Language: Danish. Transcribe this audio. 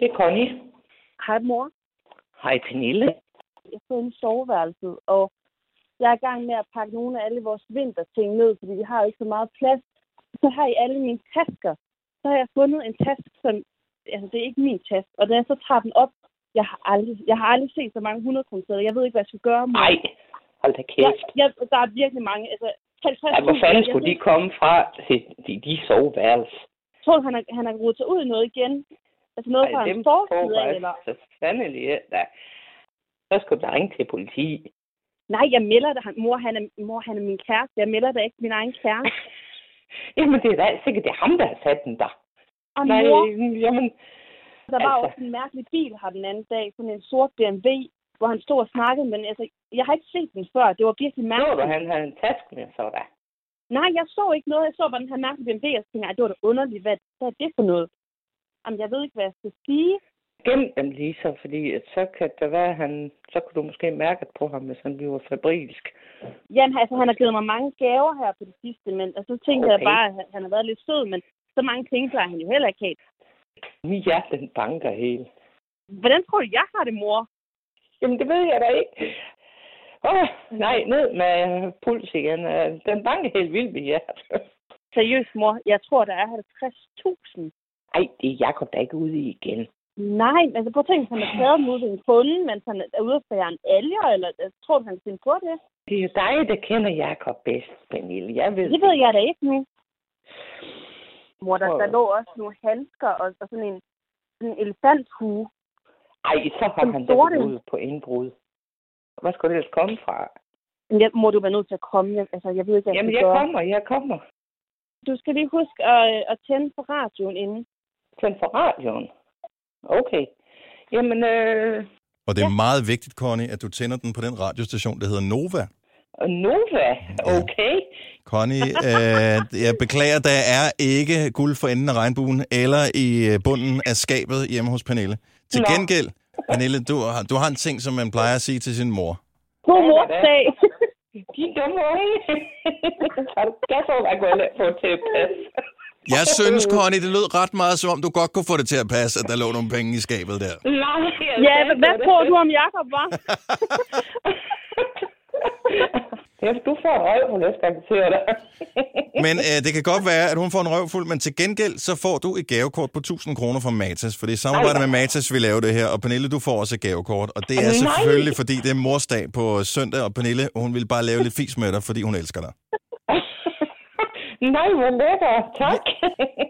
Det er Connie. Hej mor, Hej Pernille. jeg sidder inde i soveværelset, og jeg er i gang med at pakke nogle af alle vores vinterting ned, fordi vi har jo ikke så meget plads. Så har jeg alle mine tasker. Så har jeg fundet en taske, som... Altså, det er ikke min taske. Og da jeg så tager den op, jeg har aldrig, jeg har aldrig set så mange 100 kroner Jeg ved ikke, hvad jeg skal gøre. mor. Nej, hold da jeg, kæft. jeg, der er virkelig mange. Altså, 50 Ej, hvor fanden skulle de komme fra til de, de soveværelse? Jeg tror, han har, han har rodet sig ud i noget igen. Altså noget fra dem hans fortid, af, eller... soveværelse, så fandelig er der. Så skulle der ringe til politi. Nej, jeg melder dig. Mor, han er, mor, han er min kæreste. Jeg melder dig ikke min egen kæreste. Jamen, det er da sikkert, det er ham, der har sat den der. Og Nej, mor, jamen, Der Altså. var altså. også en mærkelig bil her den anden dag, sådan en sort BMW, hvor han stod og snakkede, men altså, jeg har ikke set den før. Det var virkelig så du, mærkeligt. han havde en taske med, så der. Nej, jeg så ikke noget. Jeg så bare den her mærkelige BMW, og så tænkte, jeg, "Ej, det var da underligt. Hvad, hvad er det for noget? Jamen, jeg ved ikke, hvad jeg skal sige. Gem dem lige så, fordi at så kan det være, han, så kan du måske mærke det på ham, hvis han bliver fabrilsk. Jamen, altså, han har givet mig mange gaver her på det sidste, men og så tænkte okay. jeg Okay. bare, at han- han har været lidt sød, men så mange penge plejer han jo heller ikke have. Min hjerte, den banker helt. Hvordan tror du, jeg har det, mor? Jamen, det ved jeg da ikke. Åh, oh, nej, ned med øh, puls igen. Øh, Den banker helt vildt med hjertet. Seriøst, mor, jeg tror, der er 50.000. Ej, det er Jacob, der ikke ude i igen. Nej, altså prøv at tænke, hvis han har taget dem ud ved en kunde, mens han er ude og fære en alger, eller altså, tror du, han finder på det? Det er jo dig, der kender Jacob bedst, Pernille. Jeg ved Det ved jeg da ikke nu. Mor, der, Prøv der at- lå også nogle handsker og, og sådan en, sådan en elefanthue. Ej, så har Den han da sorte. været ude på indbrud. Hvor skulle det ellers komme fra? Men Jeg, mor, du være nødt til at komme. Jeg, altså, jeg ved ikke, hvad Jamen, jeg jeg skal gøre. kommer, jeg kommer. Du skal lige huske at, at tænde for radioen inden. Tænd for radioen. Okay. Jamen, øh, Og det er Ja. meget vigtigt, Connie, at du tænder den på den radiostation, der hedder Nova. Nova, okay. Connie, øh, jeg beklager, der er ikke guld for enden af regnbuen eller i øh, bunden af skabet hjemme hos Pernille. Til Nå. gengæld, Pernille, du har, du har en ting, som man plejer at sige til sin mor. God Ja, morsdag! De dumme unge. Har du gas over, at gå og lade- få til at passe? Jeg synes, Connie, det lød ret meget, som om du godt kunne få det til at passe, at der lå nogle penge i skabet der. Nej, jeg ja, sagde hvad, hvad det. tror du om Jakob, var? Ja, du får en røv på næste gang, siger jeg dig. Men øh, det kan godt være, at hun får en røvfuld, men til gengæld, så får du et gavekort på 1000 kroner fra Matas, for det er i samarbejde med Matas, vi laver det her, og Pernille, du får også et gavekort, og det er Nej. selvfølgelig, fordi det er morsdag på søndag, og Pernille, hun vil bare lave lidt fis med dig, fordi hun elsker dig. Nej, hvor lækker. Tak.